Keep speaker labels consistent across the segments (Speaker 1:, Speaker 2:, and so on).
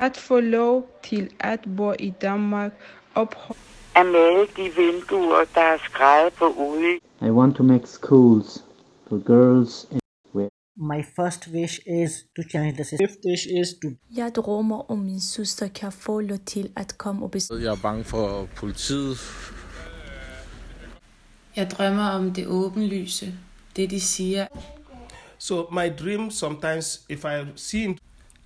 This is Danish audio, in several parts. Speaker 1: At forlov til at bo i Danmark ophold
Speaker 2: at male de vinduer, der er skrevet på ude.
Speaker 3: I want to make schools for girls and
Speaker 4: My first wish is to change the system.
Speaker 5: fifth dish is to
Speaker 6: Jeg drømmer om min søster kan få lov til at komme og besøge.
Speaker 7: Jeg er bange for politiet.
Speaker 8: Jeg drømmer om det åbenlyse, det de siger.
Speaker 9: So my dream sometimes, if I see him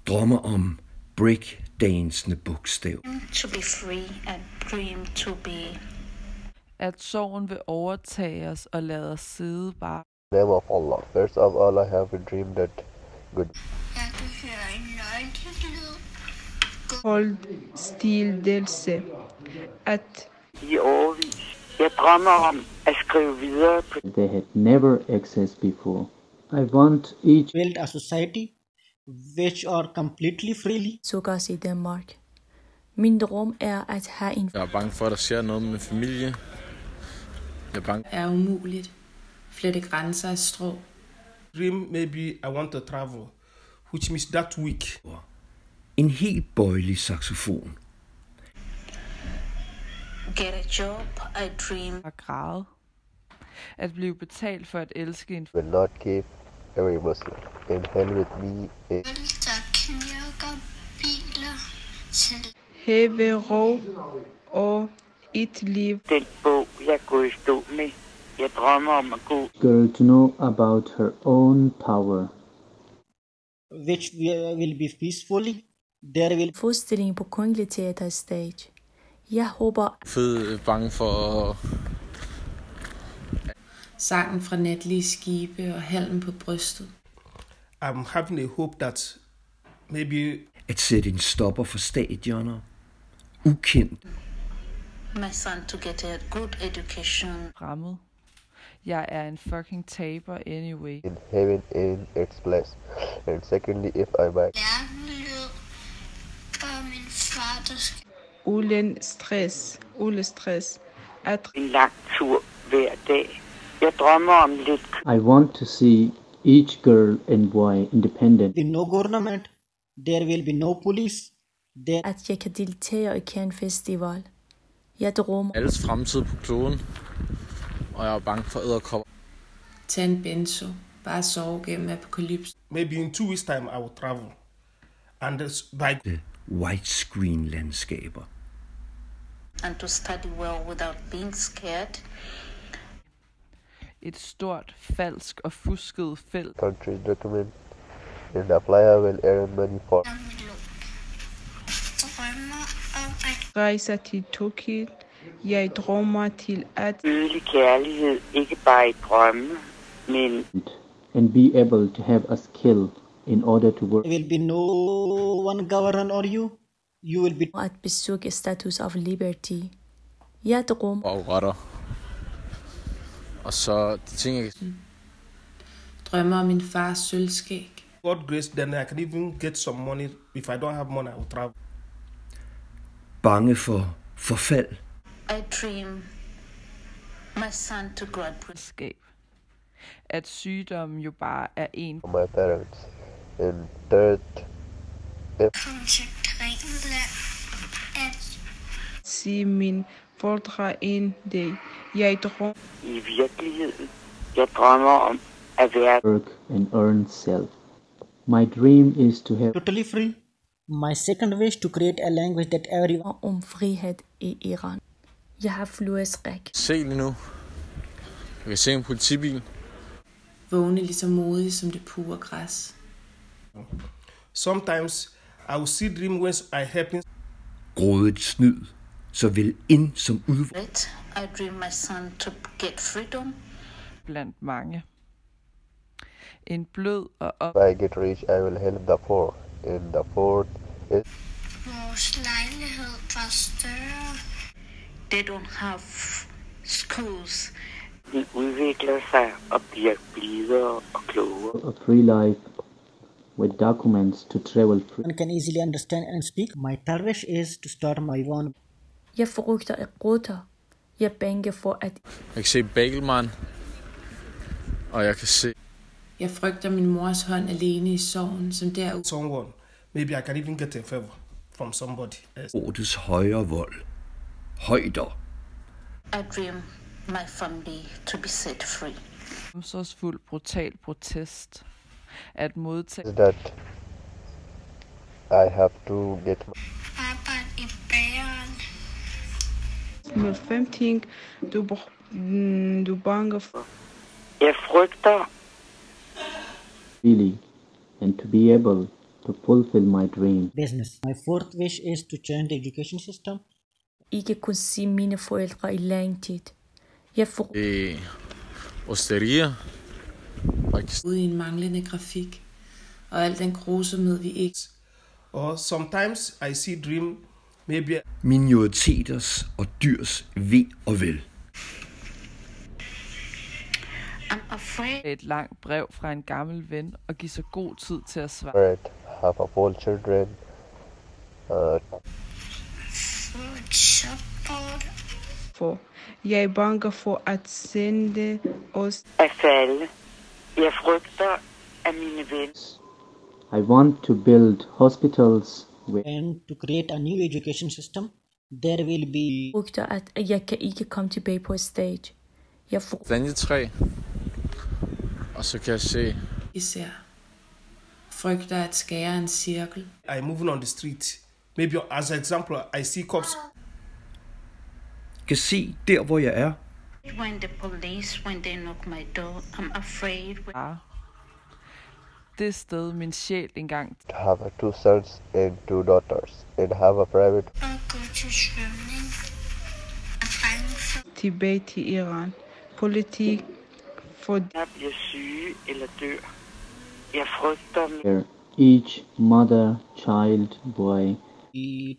Speaker 10: drømmer om breakdansende bogstav.
Speaker 11: to be free and dream to be
Speaker 12: at sorgen vil overtage os og lade os sidde bare.
Speaker 13: name of Allah. First of all, I have a dream that good
Speaker 1: stildelse. At
Speaker 2: i årvis. Jeg drømmer om at skrive videre på
Speaker 3: they had never accessed before. I want each
Speaker 4: Build a society which are completely freely.
Speaker 6: besøge os i Danmark. Min drøm er at have en
Speaker 7: Jeg er bange for, at der sker noget med min familie. Jeg er bange.
Speaker 8: Er umuligt. Flette grænser af strå.
Speaker 9: dream, maybe I want to travel, which means that week.
Speaker 10: En helt bøjlig saxofon.
Speaker 11: get a job i dream
Speaker 12: at græde. At blive betalt for at elske en
Speaker 13: will not give every Muslim. In hell with me is
Speaker 1: have ro og et liv
Speaker 2: den bog, jeg går i stå med. Jeg drømmer om at gå
Speaker 3: girl to know about her own power.
Speaker 4: which we- will be peacefully. There will
Speaker 6: forestilling på Kongelig Teater Stage. Jeg håber,
Speaker 7: Fed øh, bange for
Speaker 8: Sangen fra natlige skibe og halmen på brystet.
Speaker 9: I'm having a hope that maybe
Speaker 10: At sætte en stopper for stadioner. Ukendt.
Speaker 11: my son to get a good education
Speaker 12: fremmed. Jeg er en fucking taber anyway.
Speaker 13: in heaven in its place. And secondly, if I might,
Speaker 1: uden stress. Uden stress. At
Speaker 2: en lang tur hver dag. Jeg drømmer om lidt
Speaker 3: I want to see each girl and boy independent.
Speaker 4: be no government. There will be no police. There
Speaker 6: at jeg kan deltage i Cannes Festival. Jeg drømmer
Speaker 7: alles fremtid på kloden. Og jeg er bange for æderkopper.
Speaker 8: Tag en benzo. Bare sove gennem apokalypsen.
Speaker 9: maybe in two weeks' time I will travel. And it's by
Speaker 10: Widescreen landskaber.
Speaker 11: and to study well without being scared
Speaker 12: Et stort, falsk og fusket felt
Speaker 13: country document and apply, I will earn money for
Speaker 1: rejse til Tokyo. Jeg drømmer til at
Speaker 2: nydelig kærlighed, ikke bare i drømme, men
Speaker 3: and be able to have a skill in order to work.
Speaker 4: will be no one govern or you. You will be
Speaker 6: at besøge Status of Liberty. Jeg drømmer
Speaker 7: og rotter. Og så de ting, jeg kan-
Speaker 8: Drømmer om min fars sølvskæg.
Speaker 9: God grace, then I can even get some money. If I don't have money, I will travel.
Speaker 10: Bange for forfald.
Speaker 11: i dream my son to graduate
Speaker 12: skab. At sygdommen jo bare er en
Speaker 13: my parents. And third,
Speaker 1: se min forældre en dag. Jeg drømmer
Speaker 2: i virkeligheden. Jeg drømmer om at være
Speaker 3: work and earn self. My dream is to have
Speaker 4: totally free. My second wish to create a language that everyone
Speaker 6: om frihed i Iran. Jeg har flueskræk.
Speaker 7: se lige nu. Jeg kan se en politibil.
Speaker 8: Vågne lige så modig som det pure græs.
Speaker 9: Sometimes I will see dream when I helping
Speaker 10: Grådet snyd. Så vil ind som udvand.
Speaker 11: i dream my son to get freedom
Speaker 12: blandt mange. En blød og op
Speaker 13: if I get rich, I will help the poor. And the fourth is
Speaker 11: they don't have schools
Speaker 2: de udvikler sig og bliver blidere og klogere.
Speaker 3: a free life with documents to travel free.
Speaker 4: can easily understand and speak. My third wish is to start my own
Speaker 6: Jeg frygter at rutter. Jeg er bange for at
Speaker 7: Jeg kan se Bagelmann. Og jeg kan se
Speaker 8: Jeg frygter min mors hånd alene i sorgen, som derud
Speaker 9: someone. Maybe I can even get a favor. from somebody else.
Speaker 10: ordets højre vold. Højder.
Speaker 11: I dream Mm, my family to be set free.
Speaker 12: omsorgsfuld, brutal protest. At modtage
Speaker 13: that I have to get my
Speaker 1: Nummer 15. Du, br- mm, du er bange for.
Speaker 2: Jeg frygter
Speaker 3: freely and to be able to fulfill my dream.
Speaker 4: business. My fourth wish is to change the education system.
Speaker 6: Ikke kunne se mine forældre i lang tid. Jeg får
Speaker 7: i øh, Osteria. Pakistan.
Speaker 8: ude i en manglende grafik, og al den grusomhed, vi ikke
Speaker 9: Or sometimes I see dream, maybe
Speaker 10: Minoriteters og dyrs ved og vel.
Speaker 11: I'm afraid
Speaker 12: et langt brev fra en gammel ven og give sig god tid til at svare.
Speaker 13: bread, have a whole children, uh,
Speaker 1: for. Jeg er bange for at sende os
Speaker 2: at falde. Jeg frygter, at mine venner
Speaker 3: I want to build hospitals with
Speaker 4: And to create a new education system, there will be
Speaker 6: frygter, at jeg kan ikke komme tilbage på stage. Jeg får
Speaker 7: Kastanjetræ. Og så kan jeg se
Speaker 8: ser. Frygter at skære en cirkel.
Speaker 9: I moving on the street. Maybe as an example, I see cops
Speaker 10: Kan se der, hvor jeg er.
Speaker 11: when the police when they knock my door. I'm afraid when
Speaker 12: Ah. Det sted, min sjæl engang
Speaker 13: to have two sons and two daughters, and have a private
Speaker 1: tilbage til Iran. Politik for
Speaker 2: bliver syge eller dør. Jeg frygter min
Speaker 3: where each mother, child, boy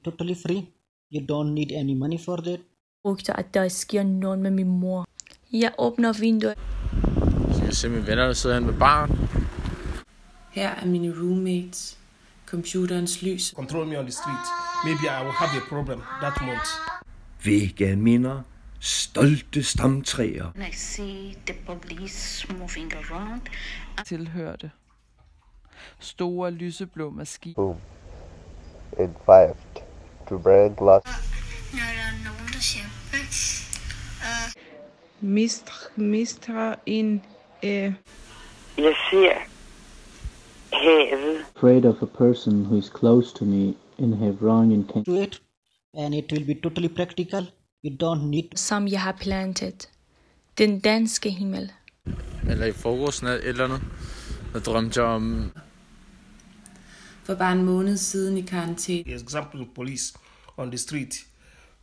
Speaker 4: totally free. You don't need any money for that.
Speaker 6: frygter, at der sker noget med min mor. Jeg åbner vinduet.
Speaker 7: Så kan jeg se mine venner, der sidder hen med barn.
Speaker 8: Her er mine roommates, computerens lys,
Speaker 9: control me on the street. Maybe I will have a problem that month.
Speaker 10: Vægge minder. Stolte stamtræer.
Speaker 11: I see the police moving around.
Speaker 12: tilhørte. Store lyseblå maskiner
Speaker 13: room, and five to bring glass
Speaker 1: mistr- mistre en øh,
Speaker 2: Jeg ser havet.
Speaker 3: afraid of a person who is close to me in Hebron in
Speaker 4: Do it, and it will be totally practical. You don't need
Speaker 6: som jeg har plantet. Den danske himmel.
Speaker 7: Eller i forgården eller et eller andet. Der drømte jeg om
Speaker 8: for bare en måned siden i karantæne.
Speaker 9: Example, police on the street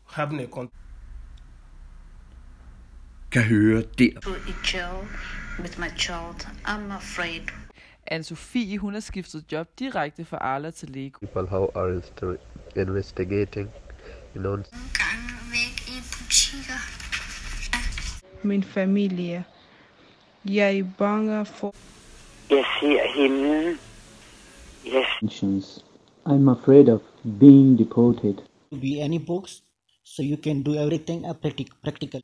Speaker 9: having a con-
Speaker 10: Kan høre der.
Speaker 11: To a jail with my child. I'm afraid
Speaker 12: Anne-Sophie, hun har skiftet job direkte fra Arla til Lego.
Speaker 13: people how are inst- investigating, you know,
Speaker 1: min familie. Jeg er bange for
Speaker 2: Jeg ser himlen. Jeg
Speaker 3: contentions. I'm afraid of being deported.
Speaker 4: to be any books, so you can do everything a practic- practical.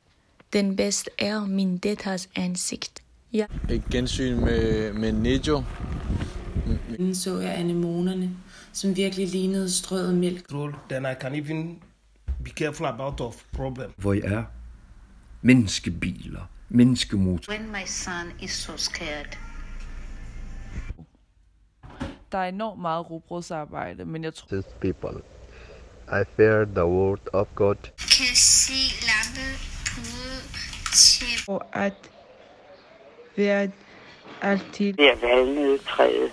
Speaker 6: Den bedste er min datters ansigt. Jeg
Speaker 7: et gensyn med, med Nejo.
Speaker 8: Inden så jeg anemonerne, som virkelig lignede strøget mælk.
Speaker 9: control, then I can even be careful about of problem.
Speaker 10: hvor jeg er. Menneskebiler, menneskemotor,
Speaker 11: when my son is so scared.
Speaker 12: Der er enormt meget rugbrødsarbejde, men jeg tror,
Speaker 13: these people. I fear the word of God.
Speaker 1: at være altid
Speaker 2: ser valnødtræet.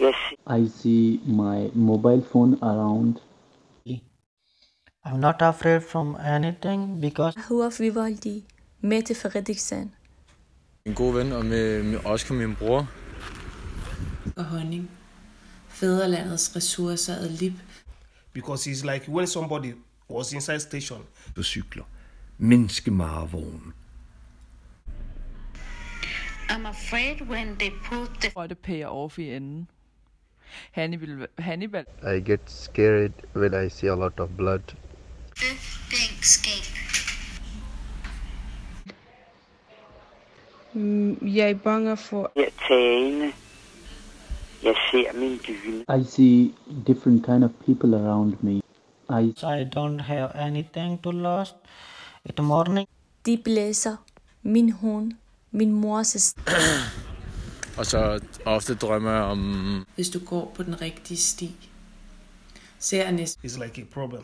Speaker 2: Jeg ser
Speaker 3: I see my mobile phone around
Speaker 4: I'm not afraid from anything because
Speaker 6: hedder Vivaldi, Mette Frederiksen.
Speaker 7: En god ven, og med, med Oscar, min bror.
Speaker 8: og honning. Fæderlandets ressourcer ad lib.
Speaker 9: because it's like when somebody was inside station,
Speaker 10: cykler, menneskemarevogn,
Speaker 11: I'm afraid when they put the
Speaker 12: at det pærer off i enden. Hannibal, Hannibal
Speaker 13: I get scared when I see a lot of blood.
Speaker 1: Mm, Jeg er bange for
Speaker 2: tagene. Jeg ser min dyne.
Speaker 3: I see different kind of people around me. I
Speaker 4: I don't have anything to lose. It morning.
Speaker 6: De blæser. Min hund. Min mors
Speaker 7: Og så ofte drømmer jeg om...
Speaker 8: Hvis du går på den rigtige sti, ser næsten...
Speaker 9: It's like a problem.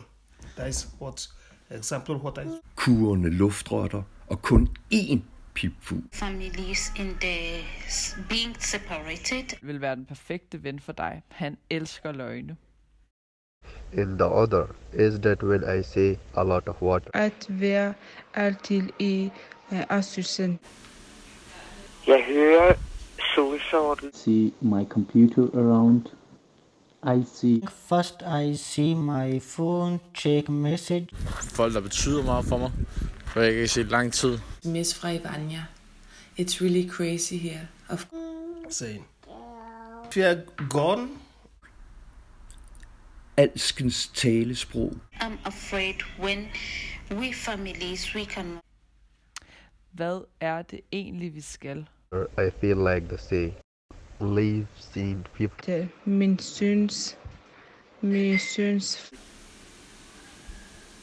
Speaker 9: That is what example what I
Speaker 10: Kurende luftrotter og kun én pipfugl.
Speaker 11: Families in the s- being separated.
Speaker 12: Vil være den perfekte ven for dig. Han elsker løgne.
Speaker 13: In the other is that when I say a lot of water.
Speaker 1: At være altid i øh, Assusen.
Speaker 2: Jeg hører solsorten.
Speaker 3: see my computer around. I see
Speaker 4: First, I see my phone, check message.
Speaker 7: folk, der betyder meget for mig, for jeg ikke har set i lang tid.
Speaker 8: Miss fra Ivania. It's really crazy here. Of
Speaker 9: saying. If you're gone,
Speaker 10: Alskens talesprog.
Speaker 11: I'm afraid when we families we can
Speaker 12: Hvad er det egentlig, vi skal?
Speaker 13: I feel like the sea. Leave seen people.
Speaker 1: Det er min syns. Min syns.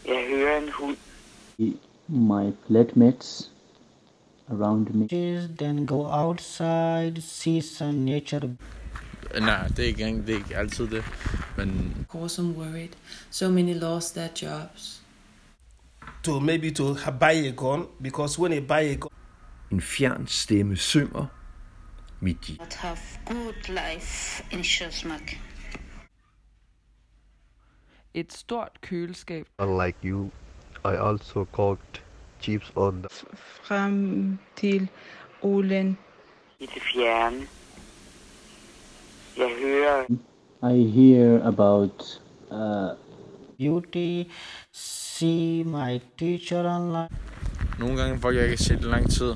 Speaker 2: Jeg hører en hund.
Speaker 3: my flatmates around me.
Speaker 4: Then go outside, see some nature.
Speaker 7: Nej, det er ikke, engang- det er ikke altid det. Men
Speaker 8: course, I'm worried. So many lost their jobs.
Speaker 9: to maybe to ha- buy a gun, because when you buy a gun,
Speaker 10: En fjern stemme synger midt i.
Speaker 11: not have good life in Sjøsmark.
Speaker 12: Et stort køleskab.
Speaker 13: Unlike you, I also cooked chips on the
Speaker 1: Frem til Olen.
Speaker 2: i det fjerne. Jeg hører
Speaker 3: I hear about uh,
Speaker 4: Beauty, see my teacher online.
Speaker 7: nogle gange folk, jeg ikke har set i lang tid.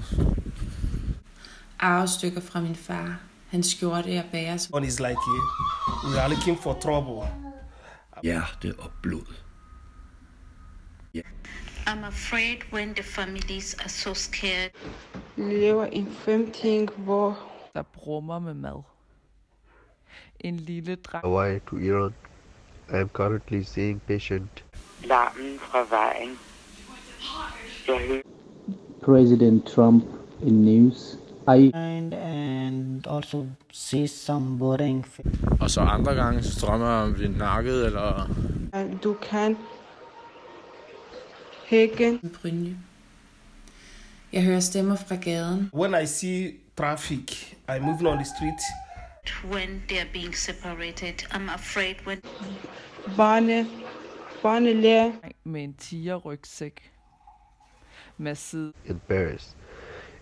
Speaker 8: Arvestykker fra min far. Hans skjorte, jeg bærer som
Speaker 9: one is like eh, we are looking for trouble.
Speaker 10: Hjerte og blod.
Speaker 11: I'm afraid when the families are so scared.
Speaker 1: Lever i en femting, hvor
Speaker 12: der brummer med mad. En lille dreng
Speaker 13: way to Iran. I am currently seeing patient.
Speaker 2: larmen fra vejen. Jeg hører
Speaker 3: President Trump in news. I
Speaker 4: And also see some boring. fi-
Speaker 7: Og så andre gange, så drømmer jeg om at blive nakket, eller
Speaker 1: at du kan hække
Speaker 8: brynje. Jeg hører stemmer fra gaden.
Speaker 9: When I see traffic, I moving on the street.
Speaker 11: When they are being separated, I'm afraid when
Speaker 1: barne, barnelærer.
Speaker 12: med en tigerrygsæk. Med side
Speaker 13: in Paris.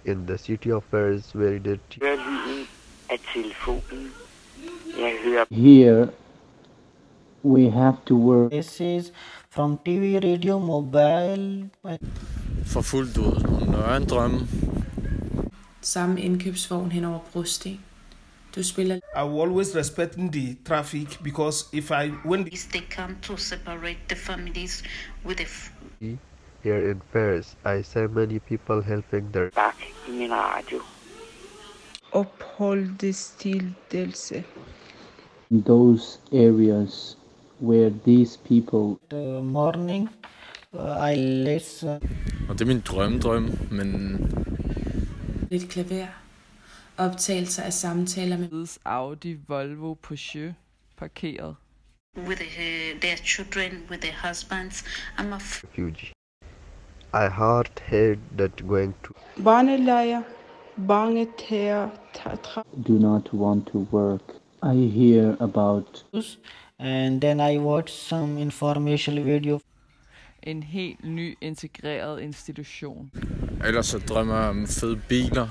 Speaker 13: In the city of Paris, where did
Speaker 2: hører lyden af telefonen. Jeg hører
Speaker 3: here we have to work
Speaker 4: This is from TV, radio, mobile.
Speaker 7: får fuldt ud. Når jeg er en drømme,
Speaker 8: Samme indkøbsvogn hen over brosten. Du spiller
Speaker 9: I will always respecting the traffic because if I when the,
Speaker 11: they come to separate the families with a f-
Speaker 13: here in Paris? I see many people helping their
Speaker 2: bak i min radio.
Speaker 1: opholdestildelse.
Speaker 3: in those areas where these people
Speaker 4: The uh, morning, uh, I listen.
Speaker 7: og det er min drømmedrøm, men
Speaker 8: lidt klaver. Optagelser af samtaler med
Speaker 12: Audi Volvo Porsche parkeret.
Speaker 11: with uh, their children, with their husbands. I'm afraid
Speaker 13: refugee. I hard heard that going to
Speaker 1: Barnelærer, bange tæer, tra- tra-
Speaker 3: do not want to work. I hear about
Speaker 4: And then I watch some informational video.
Speaker 12: En helt ny integreret institution.
Speaker 7: ellers så drømmer jeg om fede biler.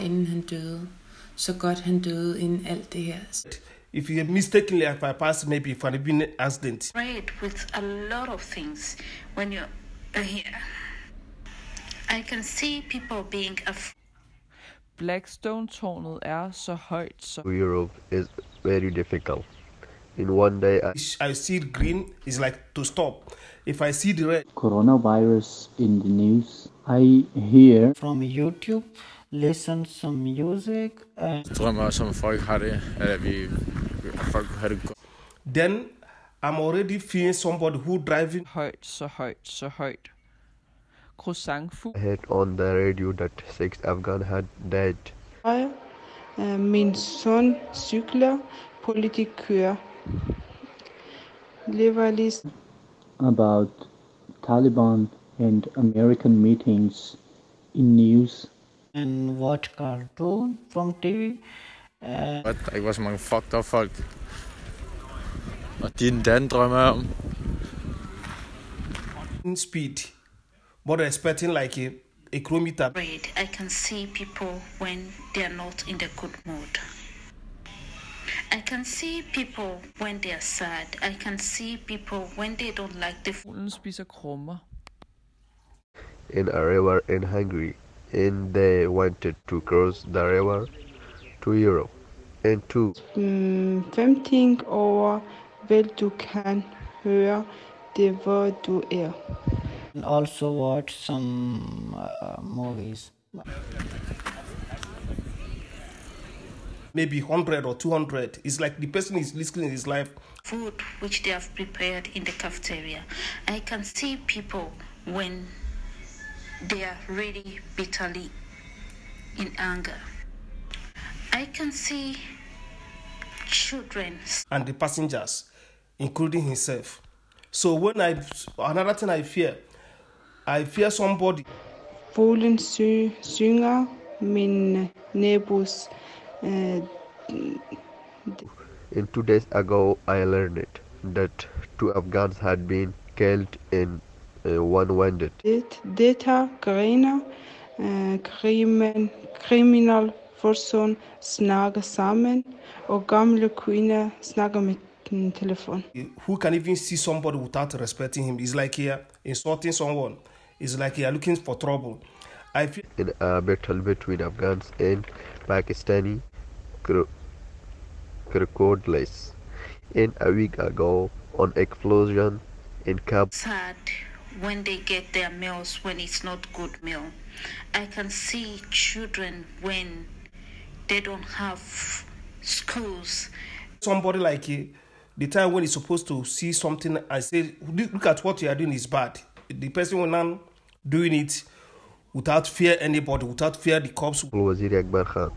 Speaker 8: inden han døde. Så godt han døde inden alt det her.
Speaker 9: if you mistakenly if I pass maybe for an accident,
Speaker 11: with a lot of things when you're uh, here. I can see people being afraid.
Speaker 12: Blackstone-tårnet er så højt, så
Speaker 13: Europe is very difficult. In one day, I
Speaker 9: I see green is like to stop. If I see the red,
Speaker 3: coronavirus in the news. I hear
Speaker 4: from YouTube listen some music and
Speaker 7: Jeg drømmer også om, at folk har det, at, vi, at folk har det godt.
Speaker 9: Then I'm already feeling somebody who driving.
Speaker 12: Højt, så højt, så højt. Croissantfugl.
Speaker 13: I heard on the radio that six Afghan had died.
Speaker 1: Øh, Min søn cykler, politik kører. Lever lige
Speaker 3: about Taliban and American meetings in news.
Speaker 4: and watch cartoon from TV. Uh,
Speaker 7: At der ikke var så mange fucked up folk. Og din dan drømmer jeg om.
Speaker 9: in speed, but they're expecting like a, a kilometer.
Speaker 11: Great. I can see people when they are not in the good mood. I can see people when they are sad. I can see people when they don't like the food.
Speaker 12: Fuglen spiser krummer.
Speaker 13: in a river in Hungary, and they wanted to cross the river to Europe. And two,
Speaker 1: mm, 15 år, vel du kan høre det, hvor du er.
Speaker 4: and also watch some uh, movies.
Speaker 9: maybe 100 or 200. It's like the person is risking his life.
Speaker 11: Food which they have prepared in the cafeteria. I can see people when they are really bitterly in anger. I can see children
Speaker 9: and the passengers, including himself. So when I another thing I fear, I fear somebody.
Speaker 1: Fuglen sy- synger, min nabos øh,
Speaker 13: in two days ago, I learned it, that two Afghans had been killed and uh, one wounded.
Speaker 1: det, data griner, øh, krimen, kriminal person snakker sammen, og gamle kvinder snakker med mm, telefon.
Speaker 9: Who can even see somebody without respecting him? It's like here insulting someone. It's like you are looking for trouble. I fear
Speaker 13: In a battle between Afghans and Pakistani cro- crocodiles. And a week ago, on explosion in Kabul.
Speaker 11: sad when they get their meals when it's not good meal. I can see children when they don't have schools.
Speaker 9: somebody like you. The time when he's supposed to see something and say, "Look look at what you are doing is bad." The person will not doing it without fear anybody, without fear the cops.
Speaker 13: Wazir Akbar Khan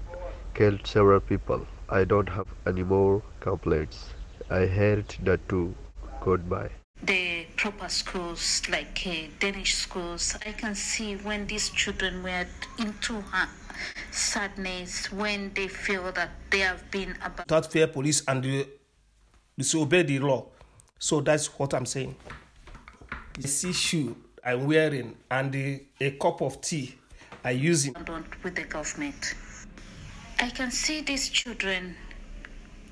Speaker 13: killed several people. I don't have any more complaints. I heard the two. Goodbye.
Speaker 11: The proper schools, like uh, Danish schools, I can see when these children were into ha- sadness, when they feel that they have been abandoned.
Speaker 9: without fear police and they disobey the law. So that's what I'm saying. The sea shoe I'm wearing and the, a cup of tea I use it.
Speaker 11: abandoned with the government. I can see these children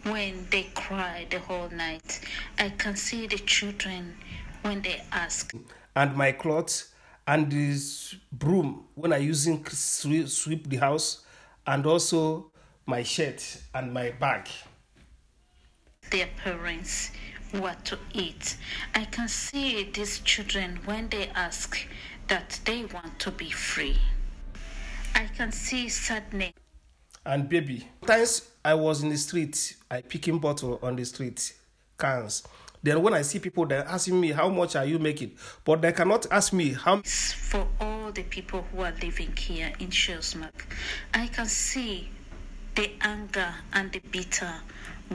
Speaker 11: when they cry the whole night. I can see the children when they ask.
Speaker 9: and my clothes and this broom when I using sweep, sweep the house and also my shirt and my bag.
Speaker 11: their parents what to eat. I can see these children when they ask that they want to be free. I can see sadness
Speaker 9: and baby. Sometimes I was in the street, I picking bottle on the street, cans. Then when I see people, they're asking me how much are you making, but they cannot ask me how.
Speaker 11: for all the people who are living here in Shellsmark. I can see the anger and the bitter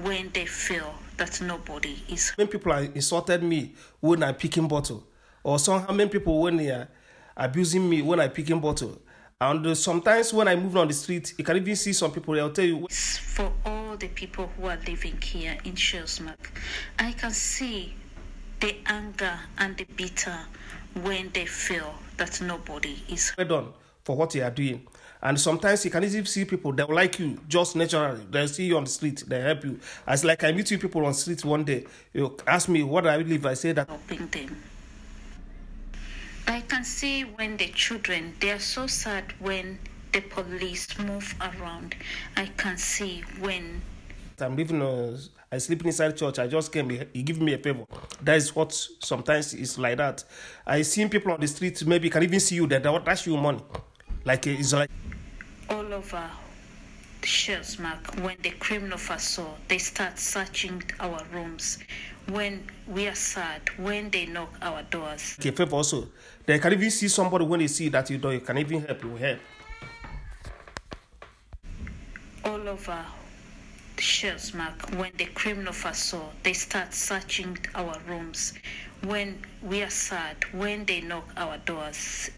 Speaker 11: when they feel that nobody is
Speaker 9: Many people are insulted me when I picking bottle, or somehow many people when they are abusing me when I picking bottle. And uh, sometimes when I move on the street, you can even see some people. They'll tell you
Speaker 11: for all the people who are living here in Shellsmark. I can see the anger and the bitter when they feel that nobody is
Speaker 9: well done for what you are doing. And sometimes you can easily see people that will like you just naturally. They'll see you on the street, they help you. As like I meet you people on the street one day, you ask me what I live. I say that
Speaker 11: helping them. I can see when the children they are so sad when the police move around. I can see when
Speaker 9: I'm living uh, I sleeping inside church. I just came. He give me a favor. That is what sometimes is like that. I seen people on the street. Maybe can even see you that they will dash you money. Like uh, it's like
Speaker 11: all over the shells, Mark. When the criminal first saw, they start searching our rooms. When we are sad, when they knock our doors,
Speaker 9: Okay, favor also. They can even see somebody when they see that you don't, you can even help, you will help.
Speaker 11: all over the shells, Mark. When the criminal first saw, they start searching our rooms. When we are sad, when they knock our doors,